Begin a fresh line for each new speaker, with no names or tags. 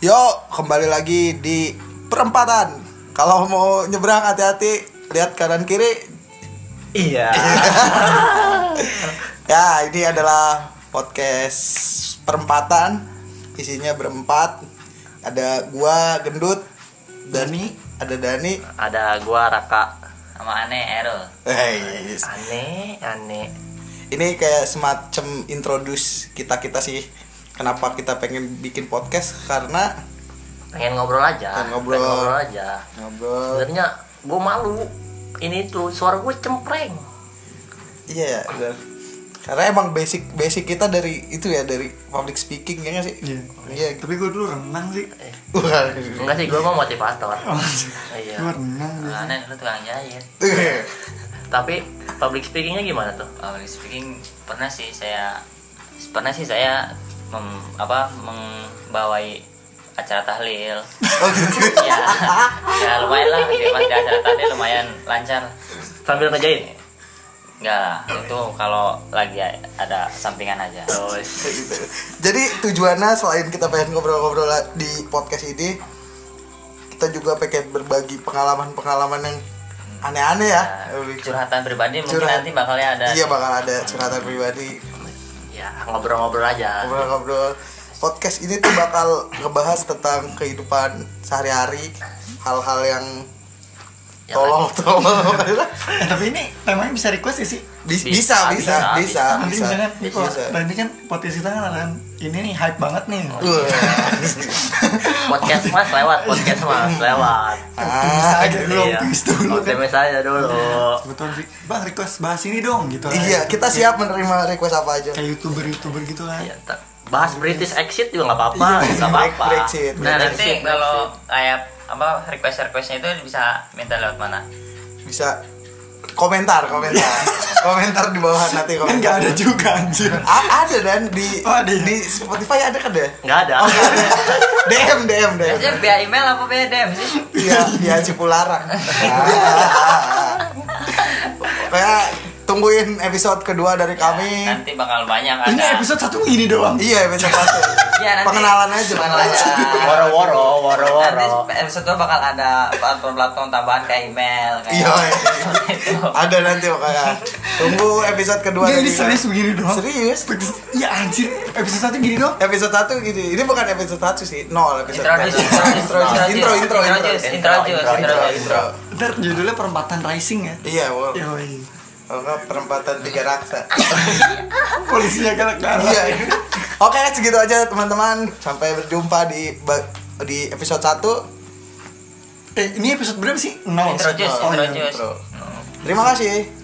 Yo, kembali lagi di perempatan. Kalau mau nyebrang hati-hati, lihat kanan kiri.
Iya.
Ya, ini adalah podcast perempatan. Isinya berempat. Ada gua gendut, Dani, ada Dani.
Ada gua Raka.
sama aneh Errol
Hei,
Aneh, aneh.
Eh, ini kayak semacam introduce kita kita sih. Kenapa kita pengen bikin podcast? Karena
Pengen ngobrol aja.
Pengen ngobrol.
aja.
ngobrol.
Sebenarnya gua malu. Ini tuh suara gue cempreng.
Iya, benar. Karena emang basic basic kita dari itu ya dari public speaking ya nggak sih?
Iya.
Iya.
Tapi gue dulu renang sih.
Wah. oh, gitu,
Enggak sih, gua mah motivator. iya.
Gue renang
Kalau
biasanya.
aneh lu tukang jahit
Tapi public speakingnya gimana tuh?
public speaking pernah sih saya pernah sih saya mem, apa membawai acara tahlil
Oh gitu.
ya ya lumayan lah di pas di acara tahlil lumayan lancar
Sambil ngejahit.
enggak lah itu kalau lagi a- ada sampingan aja
Terus
Jadi tujuannya selain kita pengen ngobrol-ngobrol di podcast ini, kita juga pengen berbagi pengalaman-pengalaman yang aneh-aneh ya.
Nah, curhatan pribadi mungkin
Curhat.
nanti bakalnya ada
Iya bakal ada curhatan pribadi,
ya ngobrol-ngobrol aja.
ngobrol-ngobrol. Podcast ini tuh bakal ngebahas tentang kehidupan sehari-hari, hal-hal yang
Ya,
Yang
tolong tolong
Eh, tapi ini temanya bisa request ya sih.
bisa bisa
Bisa,
bisa
bisa,
bisa
Nanti
Ah, bisa
misalkan ini kalau
Bisa.
nanti kan potensi kita kan akan ini nih hype banget nih.
Wah.
Podcast mas lewat, podcast mas lewat.
Optimis
Ah,
aja dulu,
Iya.
optimis dulu kan.
Optimis aja dulu.
Kebetulan sih, bang request bahas ini dong gitu lah.
iya kita siap menerima request apa aja
Kayak youtuber youtuber gitu lah.
Iya, ntar. bahas British exit juga nggak apa-apa, nggak
Iya, Break-
apa-apa.
Brexit.
nah
Brexit,
nanti kalau kayak apa request requestnya itu bisa minta lewat mana
bisa komentar komentar komentar di bawah nanti
Kan
komentar
nggak ada juga anjir.
A- ada dan di
Oh, ada ya?
di Spotify ada kan ya
nggak ada.
DM DM DM
biasanya via email apa via DM sih
iya iya Cipularang kayak tungguin episode kedua dari kami
nanti bakal banyak ada
Ini episode satu ini doang.
iya episode satu
Iya, nanti
pengenalan aja
pengenalan aja.
Woro-woro,
nanti
woro-woro.
episode dua bakal ada platform-platform tambahan kayak email kayak gitu.
Iya, ada nanti pokoknya. Tunggu episode kedua
Nggak, ini
dari-
serius begini doang.
iya. Serius?
Iya anjir, episode satu gini doang.
Episode 1 gini. Ini bukan episode 1 sih. Nol episode
Introduce,
satu.
introduce,
intro intro
introduce,
intro
introduce,
intro
introduce,
intro intro.
Ntar judulnya perempatan rising ya.
Iya, wow.
Yoi.
Kalau nggak, perempatan tiga raksa.
Polisinya galak-galak.
Iya. Oke, segitu aja teman-teman. Sampai berjumpa di ba- di episode 1.
Eh, ini episode berapa sih? Nol.
Introduce,
Oh, iya,
introduce.
Terima kasih.